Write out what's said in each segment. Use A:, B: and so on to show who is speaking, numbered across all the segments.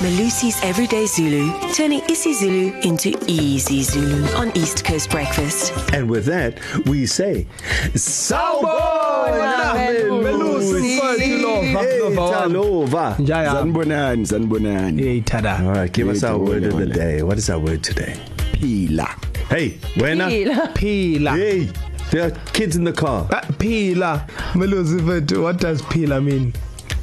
A: Malusi's Everyday Zulu, turning isiZulu into easy Zulu on East Coast Breakfast.
B: And with that, we say, Sawubona
C: Melusi.
B: Hey, Talova.
C: Njaya.
B: Sanibonani, sanibonani.
C: Hey, tada.
B: All right, give us our
C: Hey,
B: word of the
C: Talova.
B: day. What is our word today?
C: Pila.
B: Hey, wena.
C: Pila.
B: Hey, there are kids in the car.
C: Uh, Pila. Melusi, but what does pila mean?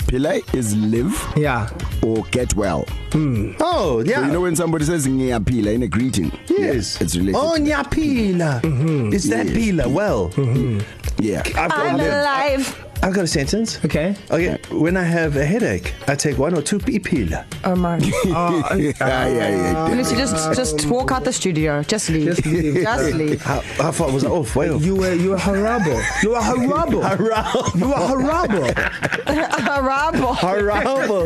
D: Pila is live
C: Yeah.
D: or get well.
B: Oh, yeah.
D: So you know when somebody says ngiyapila in a greeting?
B: Yes.
D: Yeah, it's related.
B: Oh,
D: Oh.
B: Nyapila. Mm-hmm. It's that
D: Yes.
B: Pila. Well, mm-hmm.
D: Yeah.
B: I've, got,
E: I'm alive.
B: I've got a sentence.
C: Okay.
B: Okay, when I have a headache, I take one or two pila.
E: Omar.
B: ah,
C: Uh,
D: yeah, yeah, yeah.
E: Lucy, just just walk out the studio. Just leave.
C: Just leave.
E: Just leave.
B: How, how far was I off? Way off.
C: you were you were horrible. You were horrible. You were horrible.
E: Harabo.
B: Horrible.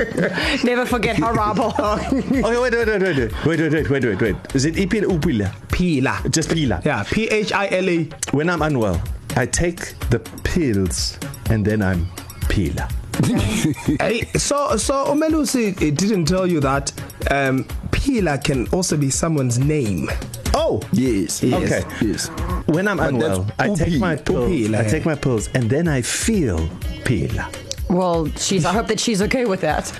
E: Never forget Harabo.
B: Okay, wait, wait, wait, wait, wait, wait, wait, wait, wait, wait. Is it ipila or pila?
C: Pila.
B: Just pila.
C: Yeah. P H I L A.
B: When I'm unwell, I take the pills and then I'm pila.
C: Hey, so so Umelusi it didn't tell you that um, Pila can also be someone's name.
B: Oh,
D: Yes.
B: Okay.
D: Yes.
B: when I'm
D: that's
B: unwell, I take
D: upi-
B: my pills.
C: upila,
B: I
C: yeah.
B: take my pills and then I feel pila.
E: well, she's. I hope that she's okay with that.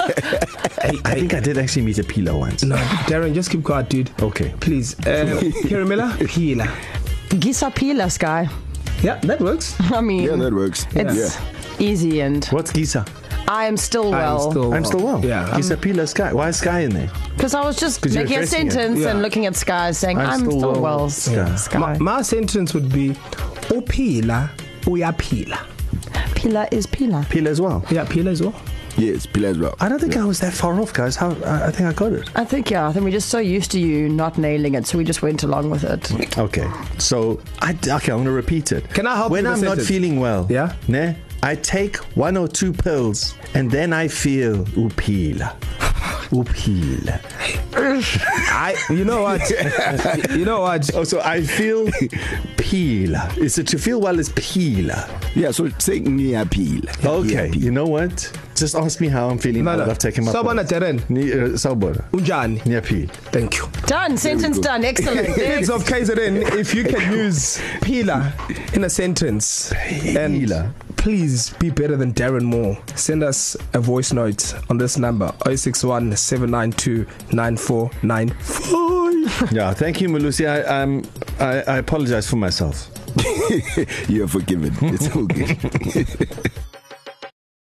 B: I, I think I did actually meet a pila once.
C: No, Darren, just keep quiet, dude.
B: Okay.
C: Please. Uh, Kiramila? Pila.
E: Gisapilas guy.
C: Yeah, that works.
E: I mean,
D: Yeah, that works.
E: it's
D: yeah.
E: easy and
B: What's Gisa?
E: I am still well.
B: I'm still well.
C: Oh, Yeah.
B: Gisa pila sky. Why is sky in there?
E: Because I was just
B: 'Cause you're
E: making a
B: addressing it.
E: sentence and
C: Yeah.
E: looking at Sky saying,
B: I'm
E: I'm,
B: still
E: still,
B: well,
E: well,
B: Sky."
E: Sky. Sky.
C: My, my sentence would be Upila uyapila.
E: Pila is Pila.
B: Pila as well.
C: Yeah, pila as well.
D: Yes, Pila as well.
B: I don't think I was that far off, guys. How I, I think I got it.
E: I think, yeah, I think we're just so used to you not nailing it, so we just went along with it.
B: Okay, so I okay. I'm gonna repeat it.
C: Can I help
B: When
C: you
B: I'm
C: with
B: not
C: sentence?
B: feeling well,
C: Yeah?
B: ne, I take one or two pills, and then I feel upila, upila.
C: I you know what? you know what?
B: Oh, so I feel pila. Is it to feel well is pila?
D: Yeah, so say ngiyapila.
B: Okay, you know what? Just ask me how I'm feeling.
C: No,
B: No,
C: no.
B: no. I've taken my. eh,
C: Sawubona, Darren.
B: Sabona.
C: Unjani.
B: Nyapil.
C: Thank you.
E: Done. Sentence done. Excellent.
C: Kids of KZN, if you can use Pila in a sentence, and
B: Pila.
C: please be better than Darren Moore. Send us a voice note on this number 061 792 9494.
B: Yeah, thank you, Malusi. I, um, I, I apologize for myself.
D: You're forgiven. It's all good.